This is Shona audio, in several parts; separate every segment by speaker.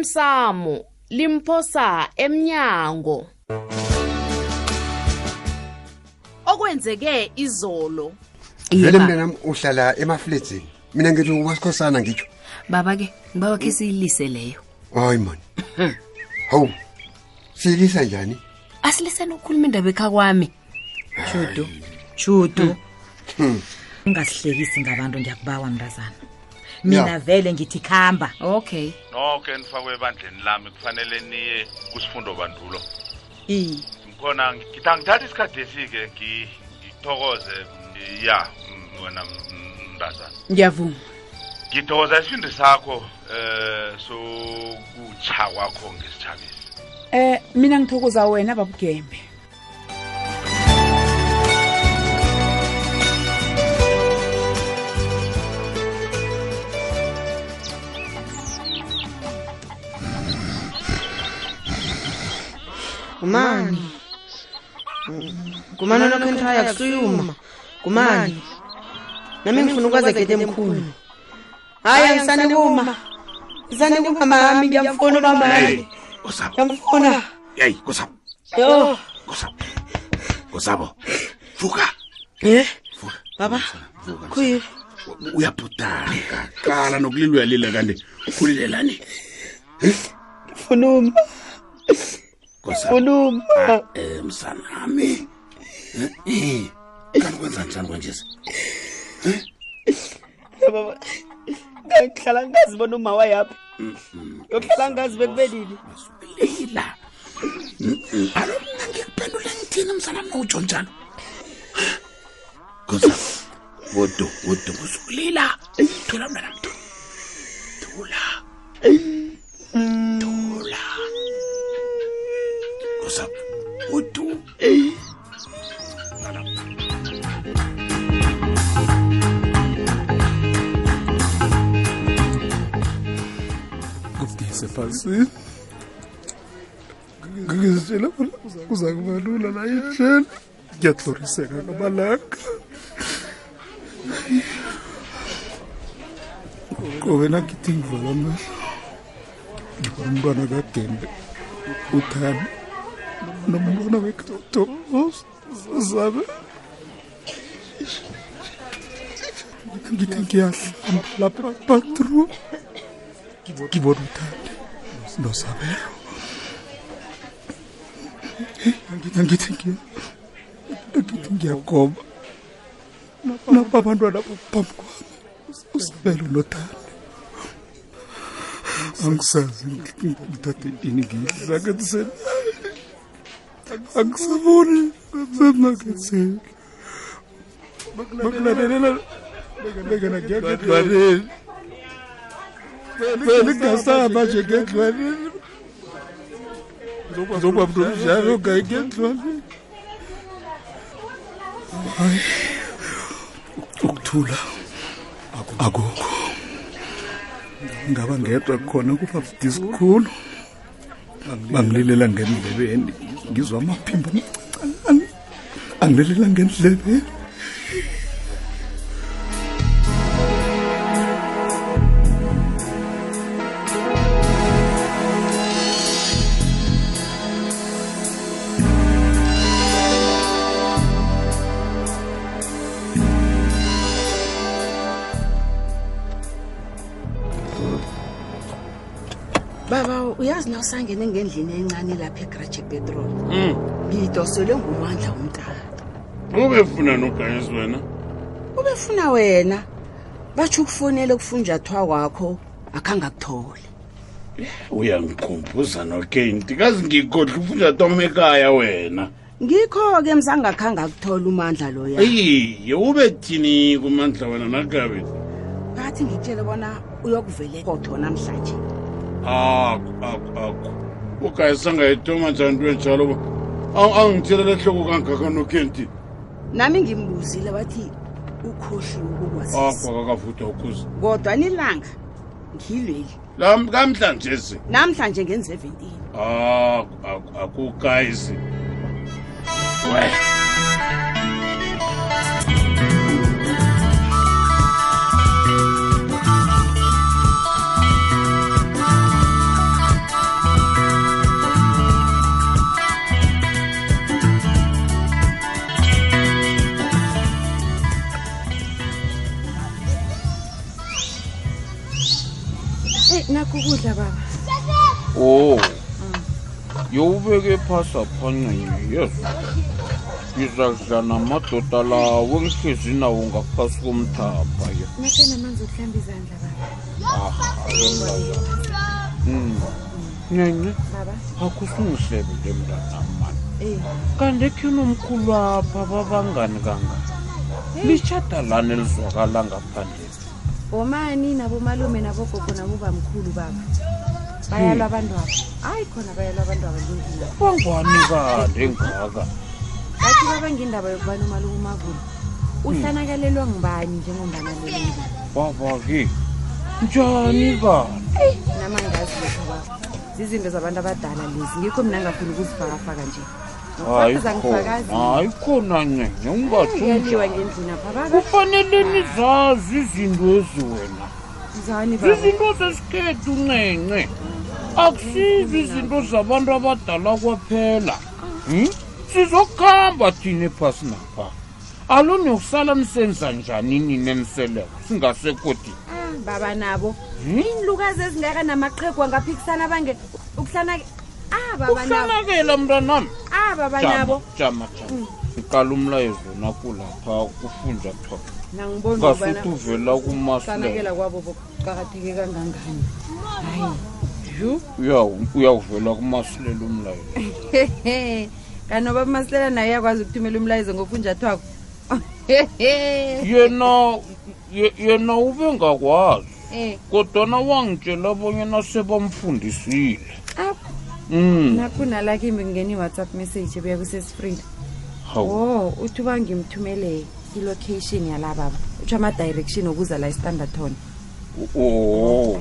Speaker 1: osemsamo limphosa emnyango okwenzeke izolo
Speaker 2: Iye,
Speaker 3: vele
Speaker 2: baba.
Speaker 3: mntanam uhlala emafledzini mina ngithi ubasikhosana ngitsho
Speaker 2: baba ke ngiba wakhe siyilise leyo
Speaker 3: hayi mani hawu siyilisa njani
Speaker 2: asiliseni ukukhuluma indaba ekha kwami shudu shudu Hmm.
Speaker 4: ungasihlekisi ngabantu ndiyakubawa mntazana mina
Speaker 3: Ya.
Speaker 4: vele ngithi khamba
Speaker 2: okay
Speaker 5: nokho enifakwe ebandleni lami kufanele niye kusifundo bandulo
Speaker 4: i
Speaker 5: ngikhona ngithi angithatha isikhathi esi-ke ngi- ngithokoze mm, ya mm, wena mm, mntazana
Speaker 4: ndiyavuma
Speaker 5: ngithokoza isifundo sakho um sokutsha kwakho ngesithabisi
Speaker 6: Eh mina ngithokoza wena babugembe.
Speaker 7: kumani kumani lokho enithaya kusuyuma kumani nami ngifuna ukwazi gete emkhulu hhayi angisani kuma ngisani kuma mami ngiyamfuna kwamani
Speaker 8: Gosabo.
Speaker 7: ngiyamfuna
Speaker 8: Hey, Gosabo.
Speaker 7: yo
Speaker 8: Gosabo. Gosabo. Vuka.
Speaker 7: eh
Speaker 8: Vuka.
Speaker 7: baba
Speaker 8: Vuka.
Speaker 7: khuyini
Speaker 8: Uyabhutaka. Qala nokulila uyalila kanti. Khulilelani.
Speaker 7: ngifuna uma
Speaker 8: Gosabo.
Speaker 7: ngifuna uma
Speaker 8: Eh, msanami. Eh. Kanti kwenzani njani kanje?
Speaker 7: baba ngihlala ngazi bona uma wayaphi yokuhlala ngazi bekube nini
Speaker 8: Lila. Alo, mina ngikuphendula ngithini msanami utsho njalo? Gosabo. Wodo, wodo, usulila. Thula mna namntu. Thula. Thula. Gosabo. Wodo.
Speaker 9: ngifise phasini ngizitshela bona kuza kuba lula la endleni ngiyahloriseka ngamalanga qobe nagithi ngivala amehlo ngibona umntwana kagembe uthani nomntwana wekdoto zabe ngithi ngiyahlamba lapha bathroom ngibona uthande nosabelo Angithi- angithi ngiya- angithi ngiyagoma napa abantwana baphambi kwami usabelo nothande angisazi ngi- ngithathe ini ngiyidlakensen angisaboni senakenseni bakulalelela bekana ngiyakendwaneni wena ingasaba nje ngendlwaneni zoba mntu onjalo ngayi ngendlwaneni hayi ukuthula aku- akukho ngaba ngedwa khona kuba futhi sikhulu bangililela ngendlebeni ngizwa amaphimbo amancincane angililela ngendlebeni
Speaker 7: baba uyazi na usangene ngendlini encane lapha egraji epetroli ngidoselwe ngumandla umntana
Speaker 8: ubefuna nogayes wena
Speaker 7: ubefuna wena batsho ukufonele kufunjathwa kwakho akhange akuthole
Speaker 8: uyangikhumbuza nokenti kazi ngikhohle ufunjatom ekhaya wena
Speaker 7: ngikho-ke mzangakhange akuthola umandla loya
Speaker 8: eyiye ube thini kumandla wena nagabe
Speaker 7: ngathi ngitshele bona uyokuvele kotho namhlanje
Speaker 8: aku aku aku ugayes angayitoma njani into enjalo ba Awu, angithelele hloko kangaka nokenti
Speaker 7: nami ngimbuzile wathi ukhohliwe ukukwazisa
Speaker 8: akakavutha ukuze
Speaker 7: kodwa nilanga ngilweli
Speaker 8: kamhlanje ze
Speaker 7: namhlanje ngen-17
Speaker 8: aku aku akugayisi we
Speaker 10: ukudla baba
Speaker 8: Oh.
Speaker 11: o yowubeke phasa phancini yesu ngizakudla namadoda lawo engihlezi nawo ngaphasi komthapha ye
Speaker 10: nakhe namanzi okuhlamba izandla baba
Speaker 11: Hmm. nyanci
Speaker 10: baba
Speaker 11: akusungihlebeje mntanamani
Speaker 10: Eh.
Speaker 11: kanti khinomkhulu apha babangani kangaka
Speaker 10: Eh.
Speaker 11: lishada lani elizwakala ngaphandle
Speaker 10: omani nabomalume nabogogo nabobamkhulu baba bayalwa abantwaba hayi khona bayalwa abantwaba ngendlela
Speaker 11: bangwani kade ngaka
Speaker 10: bathi babangendaba yokubana umalume umakulu uhlanakalelwa ngubani njengombana lelendlela
Speaker 11: babake njani
Speaker 10: Eh.
Speaker 11: kani
Speaker 10: nama ngazi lokho baba zizinto zabantu abadala lezi ngikho mina ngafuni ukuzifakafaka nje
Speaker 11: hayi Ah.
Speaker 10: zangifakazi
Speaker 11: khona hayi khona nyenye ungatsho
Speaker 10: kuyaliwa ngendlini apha baba
Speaker 11: kufanele nizazi izinto eziwena
Speaker 10: mzani baba
Speaker 11: zizinto zesikhethu nqenqe akusizo izinto zabantu abadala kwaphela Hmm? sizokuhamba thina ephasi napha alo niyokusala nisenza njani nini eniseleko singasekodini
Speaker 10: Ah, baba nabo iinlukazi ezingakanamaqhegu angaphikisana bange ukuhlana ah baba nabo
Speaker 11: uhlanakela mntanami
Speaker 10: ah baba nabo
Speaker 11: jama jama jama siqala umlayezo nakulapha kufunja thoba
Speaker 10: nangibona ukubana
Speaker 11: ngasuthi uvela kumasle
Speaker 10: kuhlanakela kwabo bokuqakatheke kangangani
Speaker 11: uyawuvela kumasilela umlayezo
Speaker 10: hehe kanoba umasilela naye uyakwazi ukuthumela umlayezo ngofunjathwako
Speaker 11: yena ye- yena ube ngakwazi
Speaker 10: Eh.
Speaker 11: kodwana wangitshela bonyana sebamfundisile
Speaker 10: Ap.
Speaker 11: um
Speaker 10: nakunala kimbi kungena i-whatsapp message ebuya kusesifrida
Speaker 8: Oh.
Speaker 11: hawu
Speaker 10: wo uthi uba ngimthumele ilocation yala baba utsho ama-direction okuza la istandarton
Speaker 11: o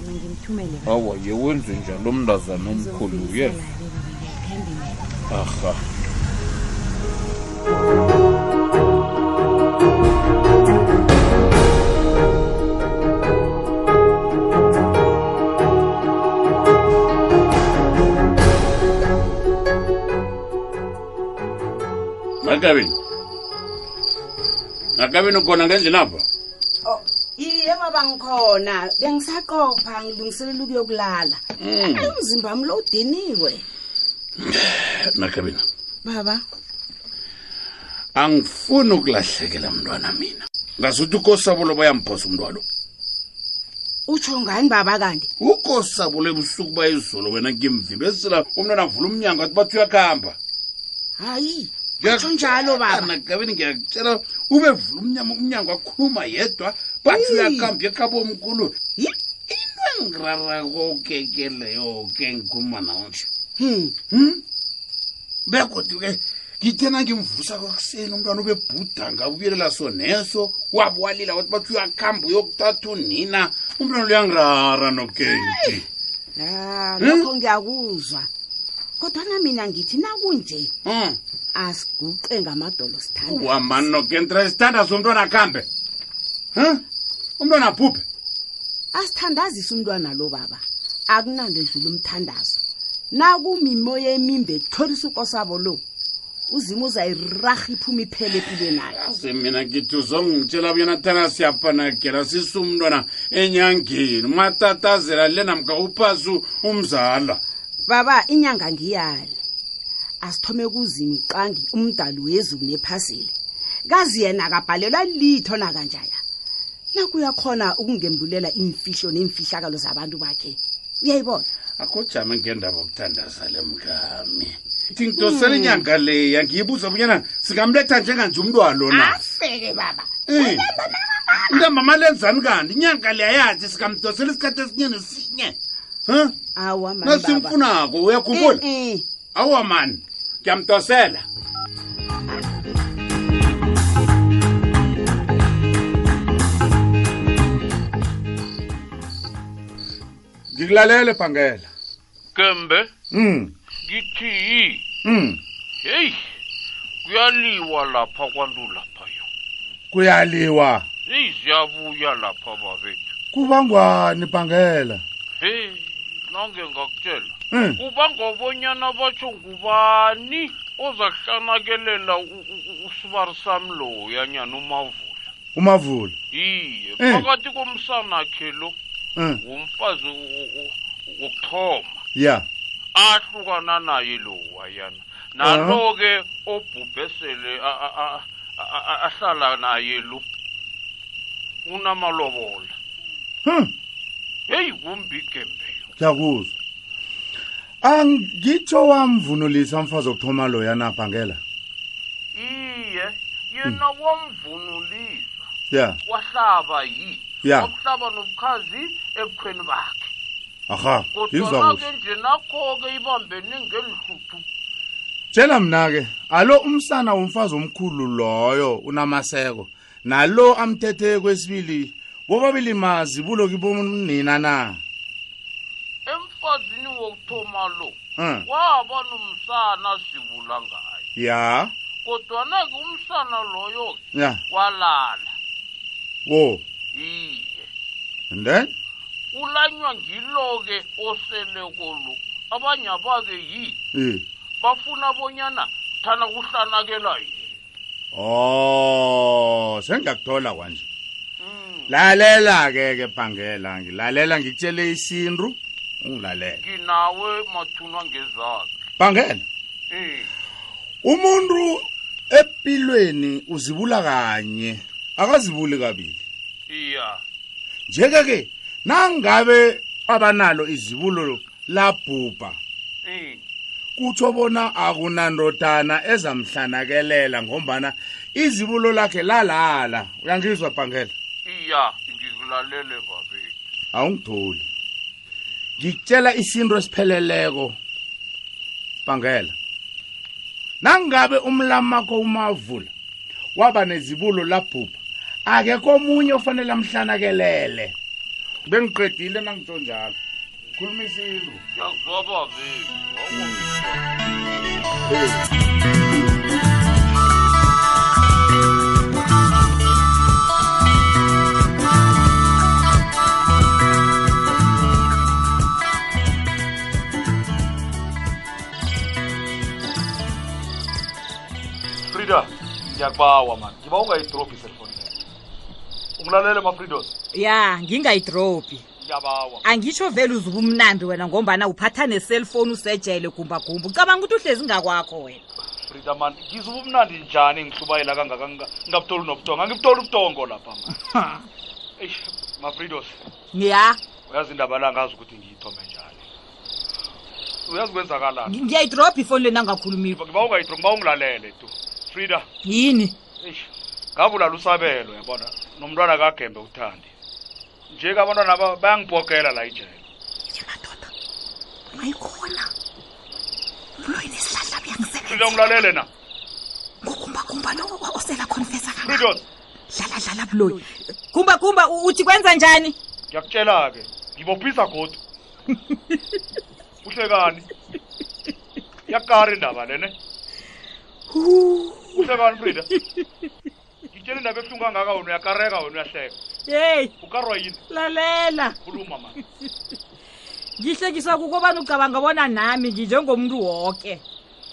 Speaker 10: Mina ngimthumele baba.
Speaker 11: awa ye wenze njalo mndazana omkhulu ye
Speaker 10: Ngizokubuyiselana ke baba, ngiyakuthemba mina.
Speaker 11: aha
Speaker 8: ngakabeni ngakabeni khona ngendlini apha
Speaker 7: iye baba ngikhona bengisaqopha ngilungiselela ukuyokulala
Speaker 8: Mm.
Speaker 7: Ayi, umzimba wami lo udiniwe
Speaker 8: ngakabeni
Speaker 7: baba
Speaker 8: angifuni ukulahlekela mntwana mina ngasuthi ukosabolo bayamphosa umntwalo
Speaker 7: utsho ngani baba kanti
Speaker 8: ukosabolo ebusuku bayizolo wena ngimvimbe esila umntwana avula umnyango athi bathi uyakuhamba
Speaker 7: hayi
Speaker 8: Ngiyakutsho
Speaker 7: njalo, baba.
Speaker 8: nakabeni ngiyakutshela ube vula umnyama umnyango akhuluma yedwa bathi uyakuhamba ekhabo omkhulu Yi- into engirarako ke ke leyo ke ngikhuluma nawo nje Hmm? bekodwa ke ngithena ngimvusa kwakuseni umntwana ubebhudanga ubuyelela soneso wabwalila wathi bathi uyakuhamba uyokuthatha unina umntwana luyangirara nokenti
Speaker 7: Ah,
Speaker 8: Hmm?
Speaker 7: lokho ngiyakuzwa kodwana mina ngithi nakunje
Speaker 8: um
Speaker 7: asiguqe ngamadolo sithanda
Speaker 8: wamani nokentra isithandazo umntwana akuhambe um umntwana aphuphe
Speaker 7: asithandazise umntwana lo baba akunanto edlula umthandazo nakumimoya emimbi etholisa ukosabo lo uzima uzayirarha iphuma iphele epilweni nayo
Speaker 8: yazi mina ngithi uzongitshela bonyana thana siyapanagela sise umntwana enyangeni matatazela le namka uphasi umzala
Speaker 7: baba inyanga ngiyali asithome kuzimqangi umdali wezulu nephasile kazi yena akabhalelwa litho nakanjaya nakuyakhona ukungembulela imfihlo neemfihlakalo zabantu bakhe uyayibona
Speaker 8: akujame ngendaba okuthandaza le mkami thi ngidosela inyanga leya ngiyibuza bonyana singamletha njenganje umntwalo na
Speaker 7: afeke baba
Speaker 8: Eh. ntambama lenzani kanti inyanga leya yathi sikamdosela isikhathi esinye nesinye Huh?
Speaker 7: awa
Speaker 8: nasimfunako
Speaker 7: Eh,
Speaker 8: uyakhumbula awa mani ngiyamdosela ngikulalele bhangela
Speaker 12: Kembe
Speaker 8: Mm,
Speaker 12: ngithi yi
Speaker 8: mm.
Speaker 12: hey kuyaliwa lapha kwantu lapha yo
Speaker 8: kuyaliwa
Speaker 12: hey ziyabuya lapha babethu
Speaker 8: kubangwani bhangela
Speaker 12: hey nange ngakutshela
Speaker 8: Mm.
Speaker 12: kuba ngobonyana batsho ngubani ozahlanakelela u- u- u- usibari sami loya nyana umavula
Speaker 8: umavula
Speaker 12: iye
Speaker 8: Eh.
Speaker 12: phakathi komsanakhe lo
Speaker 13: Eh.
Speaker 12: ngumfazi u- u- wokuthoma
Speaker 13: ya
Speaker 5: Ah,
Speaker 12: ahlukana naye lowa yana
Speaker 13: Eh, Ah.
Speaker 12: nalo ke obhubhesele a- a- a- a- a- ahlala naye lo unamalobola
Speaker 13: Hmm.
Speaker 12: heyi kumbi gembe
Speaker 13: ngiyakuzwa angitsho wamvunulisa mfazi wokuthoma loya nabhangela
Speaker 12: iye
Speaker 13: Hmm.
Speaker 12: yena wamvunulisa
Speaker 13: ya
Speaker 12: wahlaba yi
Speaker 13: Ya.
Speaker 12: wakuhlaba nobukhazi ebukhweni bakhe
Speaker 13: aha izwa
Speaker 12: kodwana-ke
Speaker 13: kuhle
Speaker 12: nje nakho-ke ibambene ngeli hluthu
Speaker 13: tshela mna-ke alo umsana womfazi omkhulu loyo unamaseko nalo amthethe kwesibili bobabili mazibulo kibonina na
Speaker 12: emfazini wokuthoma lo
Speaker 13: Mm.
Speaker 12: waba nomsana sibula ngayo
Speaker 13: ya
Speaker 12: kodwana-ke umsana loyo
Speaker 13: ya
Speaker 12: walala
Speaker 13: wo
Speaker 12: iye
Speaker 13: and then
Speaker 12: ulanywa ngilo-ke oseleko lo abanye abake yi
Speaker 13: Eh.
Speaker 12: bafuna bonyana thana kuhlanakela yena
Speaker 13: Oh, sengiyakuthola kanje. Lalela ke ke Bhangela, ngilalela ngitshele isindu, ungilalela.
Speaker 12: nginawe mathunwa ngezakhe
Speaker 13: Bhangela,
Speaker 12: Eh,
Speaker 13: umuntu empilweni uzibula kanye, akazibuli kabili.
Speaker 12: iya
Speaker 13: Njeke ke nangabe abanalo izibulo labhubha
Speaker 12: Eh,
Speaker 13: kutsho bona akunandodana ezamhlanakelela ngombana izibulo lakhe lalala uyangizwa bhangela
Speaker 12: iya ngikulalele babethu
Speaker 13: awungitholi ngikutshela isinto esipheleleko bangela nangabe umlamako umavula waba nezibulo labhubha akekho omunye ofanele amhlanakelele bengiqedile nangitsho njalo khuluma isinto
Speaker 12: ngiyakuzwa babethu frida ngiyakubawa mani ngiba ungayidrobhi iselfoni leyo ungilalele mafridos
Speaker 4: ya ngingayidrobhi
Speaker 12: ngiyabawa
Speaker 4: angitsho vele uzuba umnandi wena ngombana uphatha neselfoni usejele gumbagumba ucabanga ukuthi uhlezi ngakwakho wena
Speaker 12: frida mani ngizuba umnandi njani ngihlubayela kangaka nginga- ngingabutholi nobutongo angibutholi ubutongo lapha mani eyi mafridos
Speaker 4: ya
Speaker 12: uyazi indaba la ngazi ukuthi ngiyithome njani uyazi kwenzakalani
Speaker 4: ngi- ngiyayidrobha ifoni leni angakhulumiko
Speaker 12: ngiba ungayidro ngiba ungilalele tu frida
Speaker 4: yini
Speaker 12: eish ngabulala usabelo yabona nomntwana kagembe uthandi njeke abantwana ba- bayangibhogela la ijele
Speaker 14: ayikhona umloyini isihlahla
Speaker 12: frida ungilalele na
Speaker 14: kuyakumbakumba lowo osela confesa
Speaker 12: fridos
Speaker 4: dlala dlala buloyi gumbagumba u- uthi kwenza njani
Speaker 12: ngiyakutshela-ke ngibophisa godu uhlekani yakari indaba lene uhlekani frida ngitshela indaba ebuhlungu kangaka wena uyakareka wena uyahleka
Speaker 4: yeyi
Speaker 12: ukarwa yini
Speaker 4: lalela
Speaker 12: khuluma mani
Speaker 4: ngihlekiswa kukobana ucabanga bona nami nginjengomuntu woke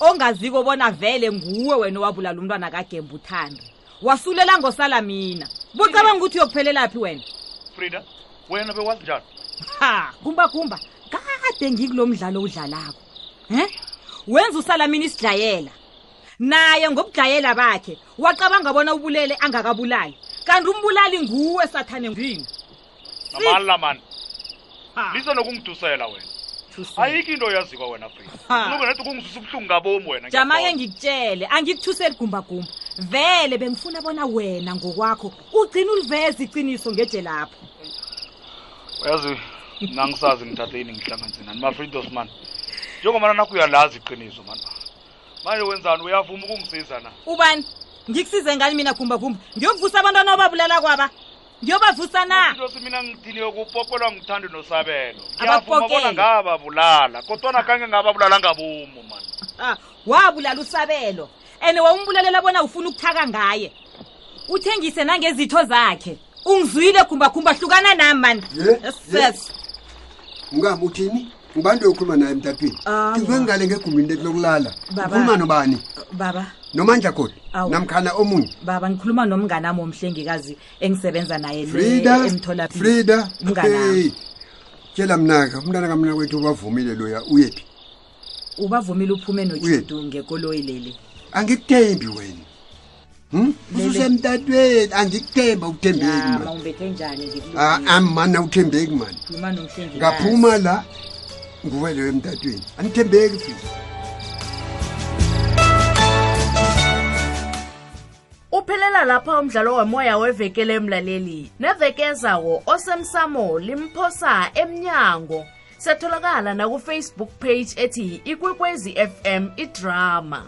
Speaker 4: ongaziko bona vele nguwe wena owabulala umntwana kagembe uthando wasulela ngosala mina bucabanga ukuthi uyokuphelelaphi wena
Speaker 12: frida wena bewazi njani
Speaker 4: ha gumbagumba kade ngikulo mdlalo udlalako em wenza usalamini isidlayela naye ngobudlayela bakhe wacabanga bona ubulele angakabulali kanti umbulali nguwe sathane ngwini
Speaker 12: namani lamani lise nokungidusela wena ayikho into oyazikwa wena frida
Speaker 4: Ha.
Speaker 12: ulunge nethi kungizwisa ubuhlungu ngabomu wena
Speaker 4: jama-ke
Speaker 12: ngiyakubona.
Speaker 4: ngikutshele angikuthuseli gumbagumba vele bengifuna bona wena ngokwakho ugcina uliveza iciniso ngeje lapho
Speaker 12: uyazi mna ngisazi ngithathe ini ngihlanganise nani mafritos mani njengobana nakho uyalazi iqiniso mani manje wenzani uyavuma ukungisiza na
Speaker 4: ubani ngikusize ngani mina gumbagumba ngiyokuvusa abantwana obabulala kwaba ngiyobavusa na
Speaker 12: fritos mina ngidiniwe kupokelwa ngithande nosabelo
Speaker 4: Abakupokeli.
Speaker 12: ngiyavuma bona ngababulala kodwana kange ngababulala ngabomu mani
Speaker 4: Ah, wabulala usabelo and wawumbulalela bona ufuna ukuthaka ngaye uthengise nangezitho zakhe ungizuyile gumbagumba hlukana nami mani yes
Speaker 3: mngami uthini ngubani loyokhuluma naye emtatweni
Speaker 4: Ah,
Speaker 3: ngikwe ngale ngegumini leti lokulala
Speaker 4: Baba.
Speaker 3: ukhuluma nobani
Speaker 4: baba
Speaker 3: nomandla khona
Speaker 4: Awu. Eh,
Speaker 3: namkhana omunye
Speaker 4: baba ngikhuluma nomnganami womhlengikazi engisebenza naye le
Speaker 3: frida
Speaker 4: emtholapilo.
Speaker 3: frida
Speaker 4: Mnganami.
Speaker 3: hey. tshela mnaka umntana kamna kwethu ubavumile loya uyephi
Speaker 4: ubavumile uphume nojudu
Speaker 3: Uyephi?
Speaker 4: ngekoloyi leli
Speaker 3: angikuthembi wena hm? ususemtatweni angikuthemba
Speaker 4: Ya,
Speaker 3: uthembeki
Speaker 4: Ah, mawumbethe njani ngikuluma
Speaker 3: amani awuthembeki mani
Speaker 4: nomhlengikazi
Speaker 3: Ah, ngaphuma la nguwe leyo emtatweni anithembeki futhi
Speaker 1: uphelela lapha umdlalo womoya wevekele emlaleli neveke ezawo osemsamo limphosa emnyango setholakala nakufacebook page ethi ikwekwezi fm idrama